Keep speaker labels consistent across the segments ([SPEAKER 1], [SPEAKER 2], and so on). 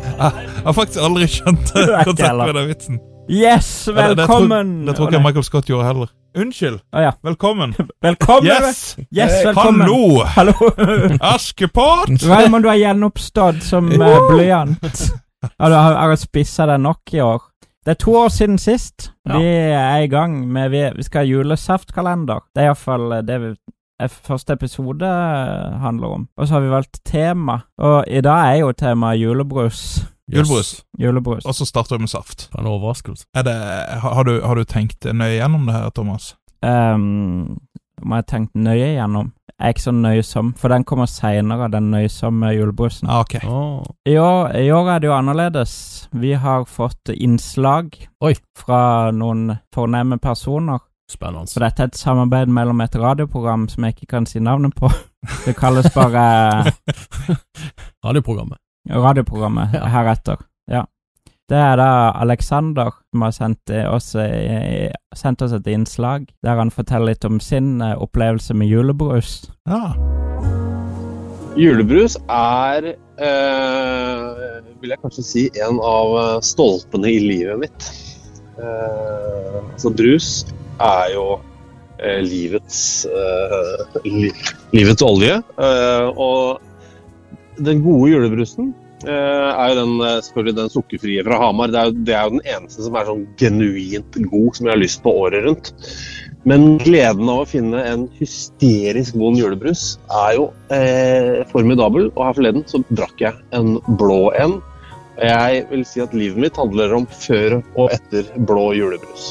[SPEAKER 1] Jeg har faktisk aldri skjønt det
[SPEAKER 2] Ikke
[SPEAKER 1] konseptet
[SPEAKER 2] heller.
[SPEAKER 1] med den vitsen.
[SPEAKER 2] Yes,
[SPEAKER 1] Ja, det- det tror-
[SPEAKER 2] velkommen!
[SPEAKER 1] Det tror
[SPEAKER 2] Å,
[SPEAKER 1] ikke
[SPEAKER 2] nei.
[SPEAKER 1] Michael Scott gjorde heller. Unnskyld.
[SPEAKER 2] Å, ja.
[SPEAKER 1] Velkommen.
[SPEAKER 2] Velkommen!
[SPEAKER 1] Yes!
[SPEAKER 2] Yes,
[SPEAKER 1] Eh,
[SPEAKER 2] velkommen.
[SPEAKER 1] Hallo!
[SPEAKER 2] Hallo!
[SPEAKER 1] Askepott!
[SPEAKER 2] Raymond, du er gjenoppstått som eh, blyant. Ja, du har, har spissa deg nok i år. Det er to år siden sist.
[SPEAKER 3] Ja.
[SPEAKER 2] Vi er i gang med Vi, vi skal ha julesaftkalender. Det er iallfall det vi eh, første episode eh, handler om. Og så har vi valgt tema, og i dag er jo temaet julebrus.
[SPEAKER 1] Julebrus.
[SPEAKER 2] Julebrus.
[SPEAKER 1] Og så starter vi med saft.
[SPEAKER 3] Det er en overraskelse.
[SPEAKER 1] Er det, har, har du, har du tenkt nøye gjennom det her, Thomas?
[SPEAKER 2] Ehm, må jeg tenke nøye gjennom. Jeg er ikke så nøysom, for den kommer seinere, den nøysomme julebrusen.
[SPEAKER 1] Ja, ok.
[SPEAKER 3] Oh.
[SPEAKER 2] I år, I år er det jo annerledes. Vi har fått innslag
[SPEAKER 3] Oi.
[SPEAKER 2] fra noen fornemme personer. Så
[SPEAKER 3] Spennende.
[SPEAKER 2] dette er et samarbeid mellom et radioprogram som jeg ikke kan si navnet på. Det kalles bare
[SPEAKER 3] Radioprogrammet.
[SPEAKER 2] radioprogrammet
[SPEAKER 3] Ja.
[SPEAKER 2] heretter. Ja. Det er da Alexander som har sendt eh, oss, eh, sendt oss et innslag der han forteller litt om sin eh, opplevelse med julebrus.
[SPEAKER 1] Ja.
[SPEAKER 4] Julebrus er, eh, vil jeg kanskje si, en av eh, stolpene i livet mitt. Eh, altså, brus er jo eh, livets, eh, li, livets olje. Eh, og den gode julebrusen eh, er jo den, eh, selvfølgelig den sukkerfrie fra Hamar. Det er, jo- det er jo den eneste som er sånn genuint god, som jeg har lyst på året rundt. Men gleden av å finne en hysterisk vond julebrus er jo eh, formidabel. Og her forleden så drakk jeg en blå en. Og Jeg vil si at livet mitt handler om før og etter blå julebrus.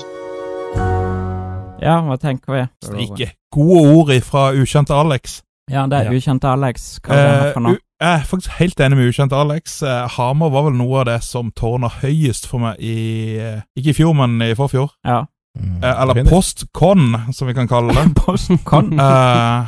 [SPEAKER 2] Ja, hva tenker vi?
[SPEAKER 1] Strike. Gode ord fra ukjente Alex.
[SPEAKER 2] Ja, det er
[SPEAKER 3] Ja.
[SPEAKER 2] ukjente Alex. Hva er det
[SPEAKER 1] Eh,
[SPEAKER 2] her for noe?
[SPEAKER 1] u- jeg er faktisk helt enig med ukjent Alex. Eh, Hamar var vel noe av det som tårna høyest for meg i eh, Ikke i fjor, men i forfjor.
[SPEAKER 2] Ja.
[SPEAKER 3] Mm.
[SPEAKER 1] Eh, eller
[SPEAKER 3] Fint.
[SPEAKER 1] Postcon, som vi kan kalle det.
[SPEAKER 2] Postcon.
[SPEAKER 1] Eh,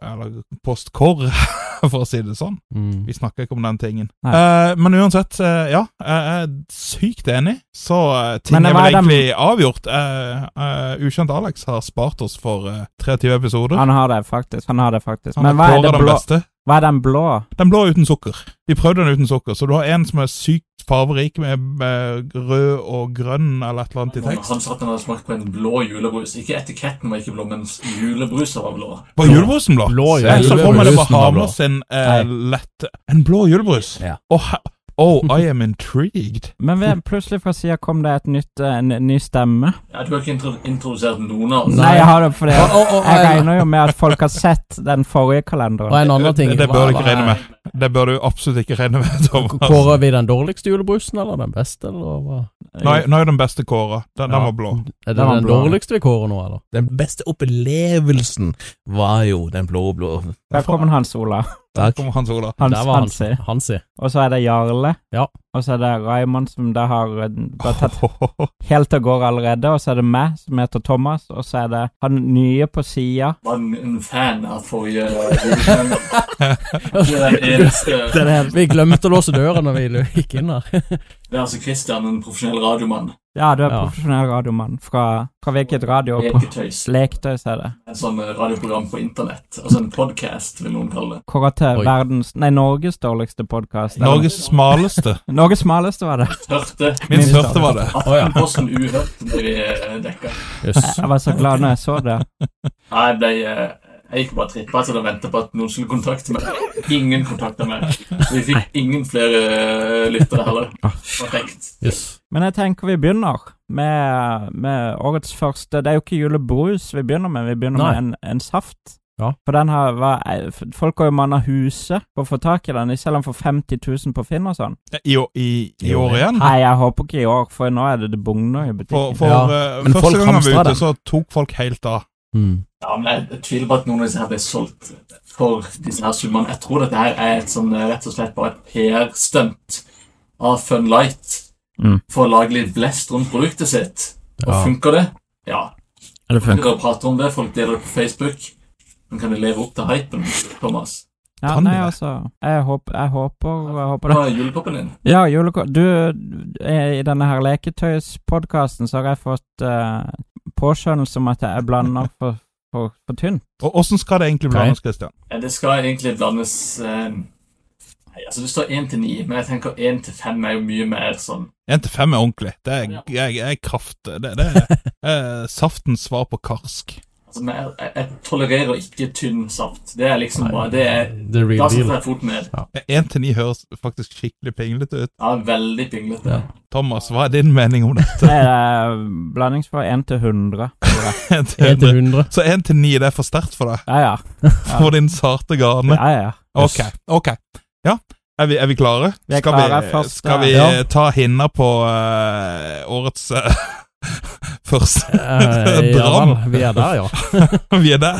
[SPEAKER 1] eller Postkor, for å si det sånn.
[SPEAKER 3] Mm.
[SPEAKER 1] Vi snakker ikke om den tingen.
[SPEAKER 2] Nei.
[SPEAKER 1] Eh, men uansett, eh, ja. Jeg er sykt enig. Så eh, ting
[SPEAKER 2] Men
[SPEAKER 1] er
[SPEAKER 2] hva
[SPEAKER 1] vel
[SPEAKER 2] er dem-
[SPEAKER 1] egentlig avgjort. Eh, eh, ukjent Alex har spart oss for eh, 23 episoder.
[SPEAKER 2] Han har det faktisk. Han har det faktisk.
[SPEAKER 1] Han
[SPEAKER 2] Men
[SPEAKER 1] har
[SPEAKER 2] hva er,
[SPEAKER 1] kåret
[SPEAKER 2] det
[SPEAKER 1] den
[SPEAKER 2] blå,
[SPEAKER 1] beste.
[SPEAKER 2] hva er den blå?
[SPEAKER 1] Den blå er uten sukker. De prøvde den uten sukker, så du har en som er sykt farverik med, med rød og grønn eller et eller annet i
[SPEAKER 5] Han
[SPEAKER 1] tekst.
[SPEAKER 5] han sa at han hadde smakt på en blå julebrus. Ikke etiketten var ikke blå, men julebrusen var blå.
[SPEAKER 1] Var julebrusen blå?
[SPEAKER 3] Blå
[SPEAKER 1] Jeg Eh, så for meg det var
[SPEAKER 3] julebrusen var blå.
[SPEAKER 1] Hamar sin eh, lette En blå julebrus?
[SPEAKER 3] Ja.
[SPEAKER 1] Oh, ha- oh, I am intrigued.
[SPEAKER 2] Men ved, plutselig fra sida kom det et nytt, eh, en ny stemme.
[SPEAKER 5] Ja, du har ikke intro introdusert noen av
[SPEAKER 2] Nei,
[SPEAKER 5] oss.
[SPEAKER 2] jeg har det fordi
[SPEAKER 3] Og- og- og-
[SPEAKER 2] jeg regner jo med at folk har sett den forrige kalenderen.
[SPEAKER 3] Og en annen ting
[SPEAKER 1] Det- det bør du ikke
[SPEAKER 3] Hva-
[SPEAKER 1] regne med. Det bør du absolutt ikke regne med,
[SPEAKER 3] hva-
[SPEAKER 1] Thomas.
[SPEAKER 3] Kårer vi den dårligste julebrusen, eller den beste, eller hva?
[SPEAKER 1] Nå er- nå er den beste kåra. Den, den
[SPEAKER 3] Ja.
[SPEAKER 1] var blå.
[SPEAKER 3] Er det
[SPEAKER 2] Den var
[SPEAKER 3] den
[SPEAKER 2] blå.
[SPEAKER 3] dårligste vi kårer nå, eller?
[SPEAKER 6] Den beste opplevelsen var jo den blå-blå.
[SPEAKER 2] Velkommen, Hans Ola.
[SPEAKER 1] Der
[SPEAKER 6] Takk.
[SPEAKER 1] kommer Hans Ola.
[SPEAKER 2] Hans,
[SPEAKER 3] Der var
[SPEAKER 2] Hansi.
[SPEAKER 3] Hansi.
[SPEAKER 2] Og så er det Jarle.
[SPEAKER 3] Ja.
[SPEAKER 2] Og så er det Raymond, som da har eh, da tatt
[SPEAKER 1] Ohohoho.
[SPEAKER 2] helt av gårde allerede. Og så er det meg, som heter Thomas. Og så er det han nye på sida.
[SPEAKER 5] Var en, en fan av forrige julebrusen. Du er den eneste.
[SPEAKER 3] Vi glemte å låse døren når vi gikk inn her.
[SPEAKER 5] Det er altså Christian, en profesjonell radiomann.
[SPEAKER 2] Ja, du er
[SPEAKER 3] Ja.
[SPEAKER 2] profesjonell radiomann. Fra, fra hvilket radio? På
[SPEAKER 5] Leketøys.
[SPEAKER 2] Leketøys er det.
[SPEAKER 5] En sånn eh, radioprogram på internett. Altså en podcast, vil noen kalle det.
[SPEAKER 2] Kåra til
[SPEAKER 3] Oi.
[SPEAKER 2] verdens Nei, Norges dårligste podkast.
[SPEAKER 1] Norges smaleste.
[SPEAKER 2] Norges smaleste, var det.
[SPEAKER 5] Hørte
[SPEAKER 1] Min største var det.
[SPEAKER 3] Å, ja.
[SPEAKER 5] Aftenposten Uhørt ble vi eh, dekka.
[SPEAKER 3] Jøss.
[SPEAKER 2] Jeg var så glad når jeg så det.
[SPEAKER 5] Nei, jeg ble eh, jeg gikk bare trippa til å vente på at noen skulle kontakte meg. Ingen kontakta meg. Vi fikk ingen flere eh, lyttere heller. Perfekt.
[SPEAKER 3] Jøss.
[SPEAKER 2] Men jeg tenker vi begynner med, med årets første Det er jo ikke julebrus vi begynner med, vi begynner
[SPEAKER 3] Nei.
[SPEAKER 2] med en, en saft.
[SPEAKER 3] Ja.
[SPEAKER 2] For den har var, eh, f- Folk har jo manna huset på å få tak i den, selv om for 50 000 på Finn og sånn.
[SPEAKER 1] I, år- i, i år igjen?
[SPEAKER 2] Nei, jeg håper ikke i år, for nå er det det bugner i
[SPEAKER 1] For,
[SPEAKER 2] butikken.
[SPEAKER 1] for eh,
[SPEAKER 6] men folk
[SPEAKER 1] første gang vi
[SPEAKER 6] hamstrer
[SPEAKER 1] var ute,
[SPEAKER 6] den.
[SPEAKER 1] så tok folk helt av.
[SPEAKER 3] Mm.
[SPEAKER 5] Ja, men jeg, jeg tviler på at noen av disse her ble solgt for disse her summene. Jeg tror dette her er et sånn, eh, rett og slett bare et PR-stunt av Fun Light
[SPEAKER 2] Mm.
[SPEAKER 5] for å lage litt blest rundt produktet sitt. Og
[SPEAKER 3] Ja.
[SPEAKER 5] funker det? Ja.
[SPEAKER 2] Eller
[SPEAKER 5] Folk prater om det, folk deler det på Facebook. Men kan det leve opp til hypen, Thomas?
[SPEAKER 2] Ja,
[SPEAKER 1] Kan
[SPEAKER 2] nei,
[SPEAKER 1] det?
[SPEAKER 2] altså Jeg håper Jeg håper, jeg håper det.
[SPEAKER 5] Hva er julekoppen din?
[SPEAKER 2] Ja, juleko... Du, eh, i denne her leketøyspodkasten så har jeg fått eh, påskjønnelse om at jeg blander for, for, for tynt.
[SPEAKER 1] Og Åssen skal det egentlig
[SPEAKER 3] Ok.
[SPEAKER 1] blandes, Christian?
[SPEAKER 5] Ja, Det skal egentlig blandes eh, Nei, altså det står 1 til 9, men jeg tenker 1 til 5 er jo mye mer sånn
[SPEAKER 1] Én til fem er ordentlig. Det er,
[SPEAKER 5] Ja.
[SPEAKER 1] jeg, jeg er kraft Det, det er eh, saftens svar på karsk.
[SPEAKER 5] altså, men jeg, jeg, jeg tolererer ikke tynn saft. Det er liksom bare det er,
[SPEAKER 3] The
[SPEAKER 5] Da
[SPEAKER 3] real
[SPEAKER 5] setter
[SPEAKER 3] deal.
[SPEAKER 5] jeg foten ned.
[SPEAKER 1] Én til ni høres faktisk skikkelig pinglete ut.
[SPEAKER 5] Ja, veldig pinglete.
[SPEAKER 3] Ja.
[SPEAKER 1] Thomas, hva er din mening om det?
[SPEAKER 2] Det er blandingsfor 1 til 100. tror jeg.
[SPEAKER 1] 1 til
[SPEAKER 3] 1 til
[SPEAKER 1] 100.
[SPEAKER 3] 100.
[SPEAKER 1] Så én til ni det er for sterkt for deg?
[SPEAKER 2] Ja, ja.
[SPEAKER 1] For din sarte garne?
[SPEAKER 2] ja, ja.
[SPEAKER 1] Ok, ok. Ja, er vi, er vi klare?
[SPEAKER 2] Vi er
[SPEAKER 1] skal
[SPEAKER 2] klare
[SPEAKER 1] vi,
[SPEAKER 2] først,
[SPEAKER 1] skal vi
[SPEAKER 3] ja.
[SPEAKER 1] eh, ta hinna på eh, årets eh, første?
[SPEAKER 3] Eh, ja
[SPEAKER 1] Brann.
[SPEAKER 3] vel, vi er der, ja.
[SPEAKER 1] vi er der.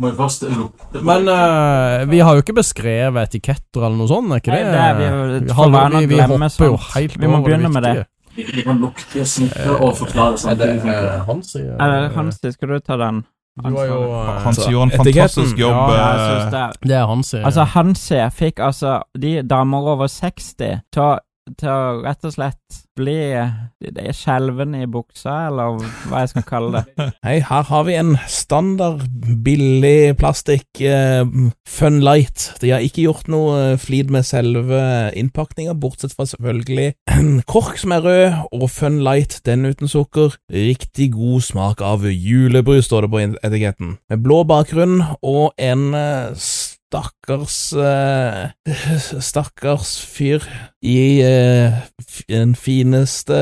[SPEAKER 5] Må jo først lukte på
[SPEAKER 3] Men
[SPEAKER 5] det.
[SPEAKER 3] eh, vi har jo ikke beskrevet etiketter eller noe sånt, er ikke
[SPEAKER 2] Nei,
[SPEAKER 3] det?
[SPEAKER 2] det er vi jo-
[SPEAKER 3] Vi har-
[SPEAKER 2] for vane å
[SPEAKER 3] vi- vi
[SPEAKER 2] glemme
[SPEAKER 3] hopper jo
[SPEAKER 2] sånt.
[SPEAKER 3] helt
[SPEAKER 2] Vi må
[SPEAKER 3] over
[SPEAKER 2] begynne med det.
[SPEAKER 3] viktige.
[SPEAKER 5] Vi vi kan lukte, snitte og forklare samtidig. tenker jeg.
[SPEAKER 3] han sier
[SPEAKER 2] Er det Hansi, skal du ta den?
[SPEAKER 3] eh, Du har jo eh,
[SPEAKER 1] Hans
[SPEAKER 6] Så,
[SPEAKER 1] gjorde en
[SPEAKER 6] etiketten,
[SPEAKER 1] fantastisk jobb.
[SPEAKER 3] ja,
[SPEAKER 2] Ja, jeg
[SPEAKER 1] eh,
[SPEAKER 2] synes det.
[SPEAKER 3] Det er Hansi.
[SPEAKER 2] Altså, Hansi fikk altså de damer over 60 til å, til å rett og slett bli de- de er skjelvende i buksa, eller hva jeg skal kalle det.
[SPEAKER 6] Hei, her har vi en standard billig plastikk eh, Fun Light. De har ikke gjort noe eh, flid med selve innpakninga, bortsett fra selvfølgelig en kork som er rød, og Fun Light, den uten sukker. Riktig god smak av julebrus, står det på etiketten. Med blå bakgrunn og en eh, stakkars eh, Stakkars fyr i eh, f- den fineste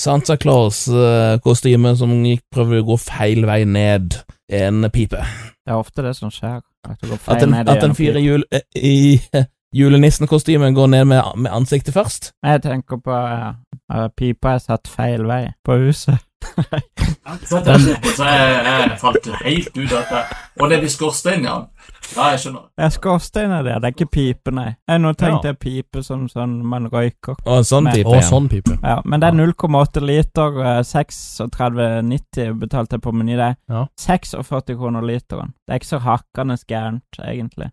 [SPEAKER 6] Santa Claus-kostymet som gikk, prøver å gå feil vei ned en pipe.
[SPEAKER 2] Det er ofte det som skjer. At, du går feil
[SPEAKER 6] At den,
[SPEAKER 2] ned i
[SPEAKER 6] at den
[SPEAKER 2] en fyr.
[SPEAKER 6] fyren i jul, eh, i eh, julenissen-kostymet går ned med, med ansiktet først.
[SPEAKER 2] Jeg tenker på eh, eh, pipa er satt feil vei på huset.
[SPEAKER 5] Så jeg tenkte på, så jeg, jeg falt helt ut av det. Og det blir skorstein, ja. Ja, jeg skjønner.
[SPEAKER 2] Det er skorsteiner der, det er ikke pipe, nei. Jeg nå tenkte jeg pipe som sånn man røyker.
[SPEAKER 6] Og en sånn
[SPEAKER 2] Nei.
[SPEAKER 6] pipe.
[SPEAKER 3] Å,
[SPEAKER 6] ja.
[SPEAKER 3] sånn pipe.
[SPEAKER 2] Ja, men det er 0,8 liter, eh, 36,90 betalte jeg på Meny, det.
[SPEAKER 3] Ja.
[SPEAKER 2] 46 kroner literen. Det er ikke så hakkende gærent, egentlig.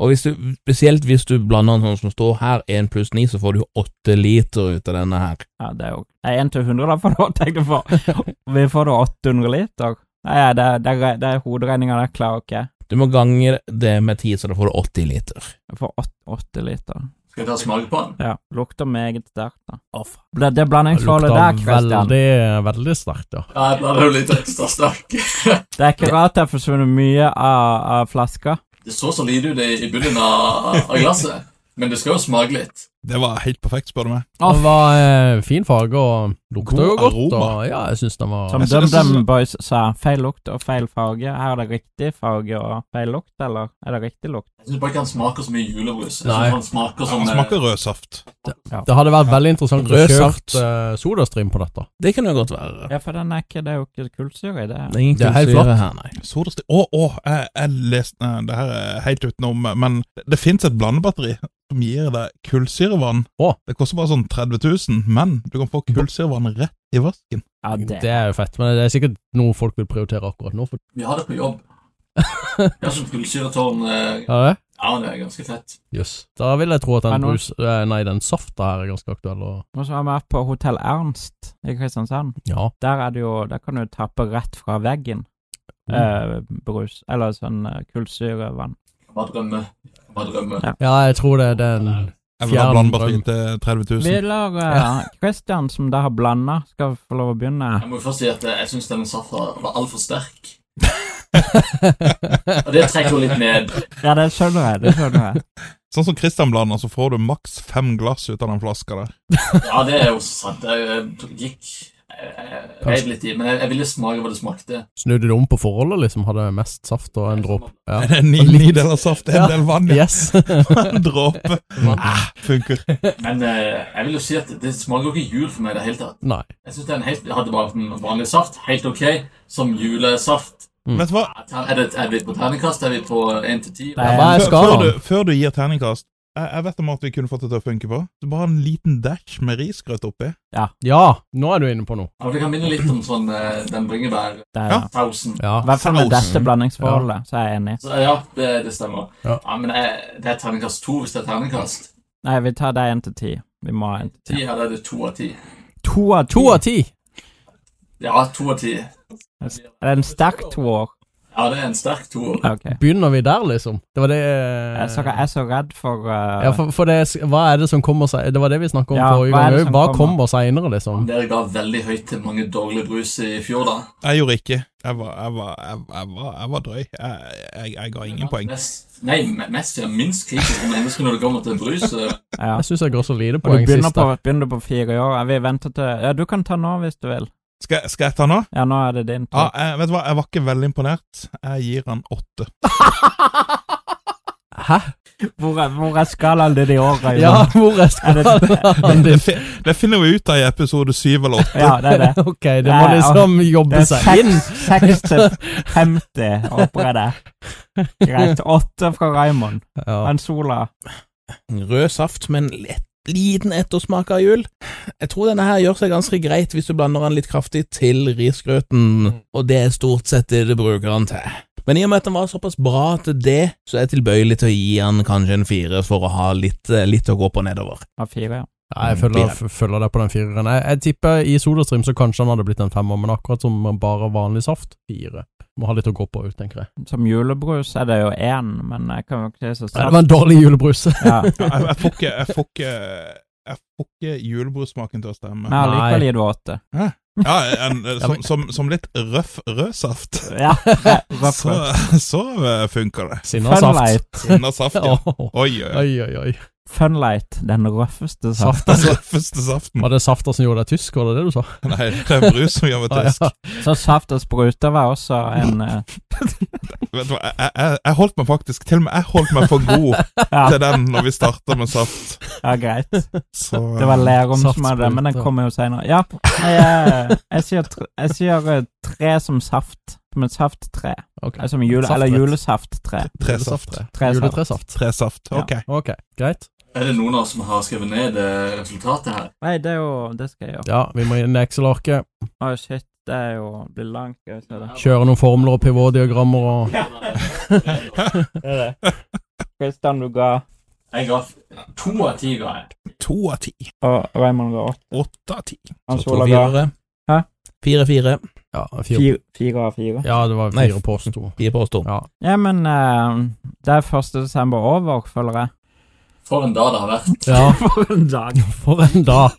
[SPEAKER 6] Og hvis du, spesielt hvis du blander den sånn som står her, 1 pluss 9, så får du 8 liter ut av denne her.
[SPEAKER 2] Ja, det er jo Nei, 1 til 100 da, for da tenkte jeg på. Vi får da 800 liter. Nei, ja, det, det, er- det er hoderegninga der, klarer ikke jeg.
[SPEAKER 6] Du må gange det med 10, så da får du 80 liter.
[SPEAKER 2] Jeg får 8 liter.
[SPEAKER 5] Skal jeg ta og smake på den?
[SPEAKER 2] Ja, lukter meget sterkt, da.
[SPEAKER 6] Å, faen.
[SPEAKER 2] Det, det er blandingsforholdet der, Christian.
[SPEAKER 3] veldig, veldig sterkt, ja.
[SPEAKER 5] Ja, jeg blander jo litt ekstra sterk.
[SPEAKER 2] Det er ikke rart det har forsvunnet mye av, av flaska.
[SPEAKER 5] Det så så lite ut i i bunnen av, av glasset, men det skal jo smake litt.
[SPEAKER 1] Det var helt perfekt, spør du meg.
[SPEAKER 3] Den var eh, fin farge og lukta
[SPEAKER 1] God
[SPEAKER 3] jo godt.
[SPEAKER 1] aroma.
[SPEAKER 3] Og, ja, jeg syns den var
[SPEAKER 2] Som
[SPEAKER 1] Jeg synes- jeg
[SPEAKER 2] DumDum
[SPEAKER 1] synes-
[SPEAKER 2] Boys sa, feil lukt og feil farge. Her er det riktig farge og feil lukt, eller er det riktig lukt?
[SPEAKER 5] Jeg syns bare ikke han smaker så mye julebrus. Jeg
[SPEAKER 3] Nei.
[SPEAKER 5] synes han smaker som
[SPEAKER 1] Han
[SPEAKER 5] eh,
[SPEAKER 1] smaker rød saft.
[SPEAKER 3] Det hadde vært veldig interessant å
[SPEAKER 6] Rød
[SPEAKER 3] kjøre
[SPEAKER 6] saft.
[SPEAKER 3] uh, sodastream på dette.
[SPEAKER 6] Det kan jo godt være.
[SPEAKER 2] Ja, for den er ikke, det er jo ikke kullsyre i det.
[SPEAKER 6] Det er ingen
[SPEAKER 3] Det er helt
[SPEAKER 6] kullsyre
[SPEAKER 3] flatt.
[SPEAKER 6] her, nei.
[SPEAKER 1] Sodastream Å, å, jeg, jeg leste nei, Det her er helt utenom, men det, det fins et blandebatteri som gir deg kullsyrevann.
[SPEAKER 3] Å.
[SPEAKER 1] Det koster bare sånn 30 000, men du kan få kullsyrevann rett i vasken.
[SPEAKER 2] Ja,
[SPEAKER 3] Det.
[SPEAKER 2] det.
[SPEAKER 3] er jo fett, men det er sikkert noe folk vil prioritere akkurat nå. For,
[SPEAKER 5] Vi har det på jobb. Jeg har sånn kullsyretårn eh,
[SPEAKER 3] ja, det?
[SPEAKER 5] Ja, det er ganske fett.
[SPEAKER 3] Jøss. Da vil jeg tro at
[SPEAKER 2] Er
[SPEAKER 3] den
[SPEAKER 2] noe-
[SPEAKER 3] brus eh, Nei, den safta her er ganske aktuell. Og,
[SPEAKER 2] Og så har vi vært på Hotell Ernst i Kristiansand.
[SPEAKER 3] ja.
[SPEAKER 2] Der er det jo, der kan du tappe rett fra veggen.
[SPEAKER 3] Mm.
[SPEAKER 2] Eh, brus, eller sånn eh, kullsyrevann.
[SPEAKER 5] Jeg Bare drømme. Jeg Bare drømme.
[SPEAKER 3] ja, jeg tror det er den
[SPEAKER 1] Jeg vil ha
[SPEAKER 3] Fjern
[SPEAKER 1] blandebatteri
[SPEAKER 3] drøm.
[SPEAKER 1] til 30 000.
[SPEAKER 2] Vi lar eh, Christian, som da har blanda, skal få lov å begynne.
[SPEAKER 5] Jeg må jo først si at eh, jeg syns denne safta var altfor sterk. Og det trekker jo litt ned.
[SPEAKER 2] Ja, det skjønner jeg. det skjønner jeg.
[SPEAKER 1] Sånn som Christian blander, så får du maks fem glass ut av den flaska der.
[SPEAKER 5] Ja, det er jo sant. Jeg, eh, gikk jeg reid litt i, men jeg, jeg ville smake hva det smakte.
[SPEAKER 3] Snudde det om på forholdet, liksom? Hadde mest saft og en dråpe ja.
[SPEAKER 1] Det er ni,
[SPEAKER 3] Litt.
[SPEAKER 1] ni deler saft, en
[SPEAKER 3] Ja.
[SPEAKER 1] del vann, ja.
[SPEAKER 3] Yes!
[SPEAKER 1] en dråpe. Ah, funker.
[SPEAKER 3] Mm.
[SPEAKER 5] Men eh, jeg vil jo si at det smaker jo ikke jul for meg i det hele tatt.
[SPEAKER 3] nei.
[SPEAKER 5] Jeg synes det er en helt, jeg hadde bare en vanlig saft, helt ok, som julesaft.
[SPEAKER 1] Vet du hva?
[SPEAKER 5] Er, det, er vi på terningkast? Er vi på 1 til 10?
[SPEAKER 3] Ja, hva
[SPEAKER 1] Før,
[SPEAKER 3] er
[SPEAKER 1] før,
[SPEAKER 3] skalaen?
[SPEAKER 1] du, før du gir terningkast jeg, jeg vet om at vi kunne fått det til å funke på. Så bare en liten dash med risgrøt oppi.
[SPEAKER 3] Ja, nå er du inne på noe.
[SPEAKER 5] Ja, det kan minne litt om sånn eh, den bringebær
[SPEAKER 2] Det er,
[SPEAKER 1] Ja.
[SPEAKER 5] 1000.
[SPEAKER 3] Ja.
[SPEAKER 2] I hvert fall med
[SPEAKER 1] Sausen.
[SPEAKER 2] dette blandingsforholdet, så er jeg enig.
[SPEAKER 5] Så eh, ja, det, det stemmer.
[SPEAKER 3] Ja.
[SPEAKER 5] Ja, men jeg, det er terningkast 2 hvis det er terningkast.
[SPEAKER 2] Nei, vi tar deg én til ti. Vi må ha en til
[SPEAKER 5] 10
[SPEAKER 2] ti.
[SPEAKER 5] her er det 2 av 10.
[SPEAKER 2] To av ti!
[SPEAKER 3] To av ti!
[SPEAKER 5] Ja, 2 av 10.
[SPEAKER 2] Er det en sterk toer?
[SPEAKER 5] Ja, det er en sterk toer.
[SPEAKER 2] Ok.
[SPEAKER 3] Begynner vi der, liksom? Det var det eh,
[SPEAKER 2] Jeg er så, jeg er så redd for eh,
[SPEAKER 3] Ja, for, for det, hva er det som kommer seg Det var det vi snakka om
[SPEAKER 2] Ja,
[SPEAKER 3] forrige
[SPEAKER 2] hva er
[SPEAKER 3] gang
[SPEAKER 2] det
[SPEAKER 3] òg.
[SPEAKER 2] som
[SPEAKER 3] Hva
[SPEAKER 2] kommer?
[SPEAKER 3] kommer seinere, liksom?
[SPEAKER 5] Dere ga veldig høyt til mange dårlige brus i fjor, da.
[SPEAKER 1] Jeg gjorde ikke. Jeg var, jeg var, jeg, jeg var, jeg var drøy. Jeg, jeg, jeg ga ingen poeng.
[SPEAKER 5] Mest, nei, me- mest ja, minst kritiske mennesker når det kommer til brus. eh,
[SPEAKER 2] ja.
[SPEAKER 3] Jeg syns jeg går så lite
[SPEAKER 2] Og du
[SPEAKER 3] poeng
[SPEAKER 2] begynner
[SPEAKER 3] sist.
[SPEAKER 2] på,
[SPEAKER 3] da.
[SPEAKER 2] begynner på fire år. Jeg vil vente til Ja, du kan ta nå hvis du vil.
[SPEAKER 1] Skal, skal jeg ta nå?
[SPEAKER 2] Ja, nå er det din
[SPEAKER 1] Ja,
[SPEAKER 2] tur.
[SPEAKER 3] Ah.
[SPEAKER 1] jeg, vet du hva, jeg var ikke veldig imponert. Jeg gir han åtte.
[SPEAKER 3] Hæ?
[SPEAKER 2] Hvor, er- hvor er skalaen din i år, Øyvind?
[SPEAKER 3] Ja, hvor er
[SPEAKER 2] Er det-
[SPEAKER 3] skalaen
[SPEAKER 1] Det,
[SPEAKER 3] din?
[SPEAKER 1] fi- det finner vi ut av i episode syv eller åtte.
[SPEAKER 2] ja, det er det.
[SPEAKER 3] Ok, det må
[SPEAKER 2] Nei,
[SPEAKER 3] liksom
[SPEAKER 2] Det
[SPEAKER 3] jobbe
[SPEAKER 2] er
[SPEAKER 3] seg inn.
[SPEAKER 2] 6 til 50, håper jeg det. Greit. 8 fra Raymond.
[SPEAKER 3] Ja.
[SPEAKER 2] Han Sola.
[SPEAKER 6] Rød saft med en lett, liten ettersmak av jul. Jeg tror denne her gjør seg ganske greit hvis du blander den litt kraftig til
[SPEAKER 3] Mm.
[SPEAKER 6] risgrøten, og det er stort sett det du bruker den til. Men i og med at den var såpass bra til det, så er jeg tilbøyelig til å gi den kanskje en fire for å ha litt, eh, litt å gå på nedover. Mm,
[SPEAKER 2] Av fire, ja.
[SPEAKER 3] Nei, jeg følger, f- følger deg på den fireren. Jeg, jeg tipper i Sodastream så kanskje han hadde blitt en femmer, men akkurat som bare vanlig saft, fire. Må ha litt å gå på, tenker jeg.
[SPEAKER 2] Som julebrus er det jo én, men jeg kan jo ikke si så
[SPEAKER 3] Nei,
[SPEAKER 2] sant.
[SPEAKER 3] det var en dårlig julebrus.
[SPEAKER 2] Ja.
[SPEAKER 1] Ja, Jeg, jeg får ikke, jeg får ikke, jeg får ikke julebrussmaken til å
[SPEAKER 2] Men
[SPEAKER 1] stemme.
[SPEAKER 2] allikevel gir du åtte.
[SPEAKER 1] Ja, en, eh, som, som, som litt røff rødsaft,
[SPEAKER 2] Ja.
[SPEAKER 1] så, så eh, funker det.
[SPEAKER 3] Sinnasaft.
[SPEAKER 2] Funlight.
[SPEAKER 1] Sinna saft, ja.
[SPEAKER 3] Åh,
[SPEAKER 1] Oi, oi, oi.
[SPEAKER 3] Oi, oi, oi.
[SPEAKER 2] Funlight, den røffeste saft.
[SPEAKER 1] Den røffeste saften.
[SPEAKER 3] Var det safta som gjorde deg tysk, var det det du sa?
[SPEAKER 1] Nei, det er brus som gjør meg
[SPEAKER 3] Ah,
[SPEAKER 1] tysk.
[SPEAKER 3] ja.
[SPEAKER 2] Så saft og spruter var også en eh,
[SPEAKER 1] Vet du hva, jeg, jeg, jeg holdt meg faktisk Til og med jeg holdt meg for god
[SPEAKER 2] Ja,
[SPEAKER 1] til den når vi starta med saft.
[SPEAKER 2] ja greit.
[SPEAKER 1] Så eh,
[SPEAKER 2] Det var Lerum som
[SPEAKER 3] Saft
[SPEAKER 2] hadde det, men den
[SPEAKER 3] spruter.
[SPEAKER 2] kommer jo seinere. Ja, nei, jeg, eh, jeg, sier tre, jeg sier eh, tre som saft. Som et safttre.
[SPEAKER 3] Ok.
[SPEAKER 2] Eh, Som jule, eller julesafttre.
[SPEAKER 3] Saftrett.
[SPEAKER 1] tresaft.
[SPEAKER 2] Tresaft.
[SPEAKER 3] Juletresaft.
[SPEAKER 1] Tresaft.
[SPEAKER 2] Ja.
[SPEAKER 1] Ok.
[SPEAKER 3] Ok, greit.
[SPEAKER 5] Er det noen av oss som har skrevet ned eh, resultatet her?
[SPEAKER 2] Nei, det er jo Det skal jeg gjøre.
[SPEAKER 3] Ja, vi må inn i Excel-arket.
[SPEAKER 2] Å, shit. Det er jo det blir langt. Skal vi se det.
[SPEAKER 3] Kjøre noen formler og pivotdiagrammer og
[SPEAKER 2] Kristian, du ga
[SPEAKER 5] Jeg ga f- to av ti, ga jeg.
[SPEAKER 1] To av ti.
[SPEAKER 2] Og Raymond ga åtte.
[SPEAKER 1] Åtte av ti.
[SPEAKER 2] Hans
[SPEAKER 6] Så to
[SPEAKER 2] Olav ga
[SPEAKER 6] firere.
[SPEAKER 2] Hæ?
[SPEAKER 6] Fire-fire.
[SPEAKER 3] Ja, fire.
[SPEAKER 2] fire fire av fire.
[SPEAKER 3] Ja, det var
[SPEAKER 6] Nei,
[SPEAKER 3] fire påsto.
[SPEAKER 6] Fire påstår.
[SPEAKER 3] Ja.
[SPEAKER 2] Ja, men eh, det er 1. desember over, føler jeg.
[SPEAKER 5] For en dag det har vært.
[SPEAKER 3] ja.
[SPEAKER 2] For en dag.
[SPEAKER 3] For en dag.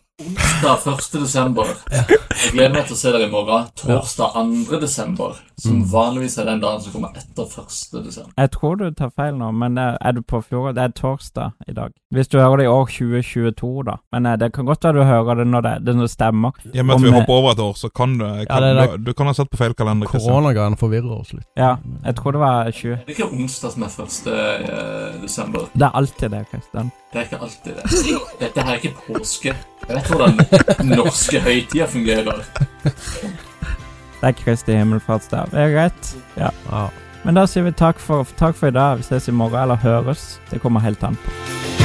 [SPEAKER 5] Da 1. desember. Jeg gleder meg til å se dere i morgen. Torsdag 2. desember, som
[SPEAKER 3] Mm.
[SPEAKER 5] vanligvis er den dagen som kommer etter 1. desember.
[SPEAKER 2] Jeg tror du tar feil nå, men eh, er du på fjoråret? Det er torsdag i dag. Hvis du hører det i år 2022, da. Men eh, det kan godt være du hører det når det, det når det stemmer.
[SPEAKER 1] I og med at vi
[SPEAKER 2] Om-
[SPEAKER 1] hopper over et år, så kan du kan,
[SPEAKER 3] det er
[SPEAKER 1] du, du kan ha satt på feil kalender. Kristian.
[SPEAKER 3] Koronagreiene forvirrer oss litt.
[SPEAKER 2] Ja, jeg tror det var 20.
[SPEAKER 5] Det er ikke onsdag som er 1. eh, desember.
[SPEAKER 2] Det er alltid det, Kristian.
[SPEAKER 5] Det er ikke alltid det. Dette her er ikke påske. Jeg vet hvordan norske høytider fungerer.
[SPEAKER 2] Det er Kristi himmelfartsdag. Det er greit. Ja.
[SPEAKER 3] Ja.
[SPEAKER 2] Men da sier vi takk for, takk for i dag. Vi ses i morgen, eller høres. Det kommer helt an på.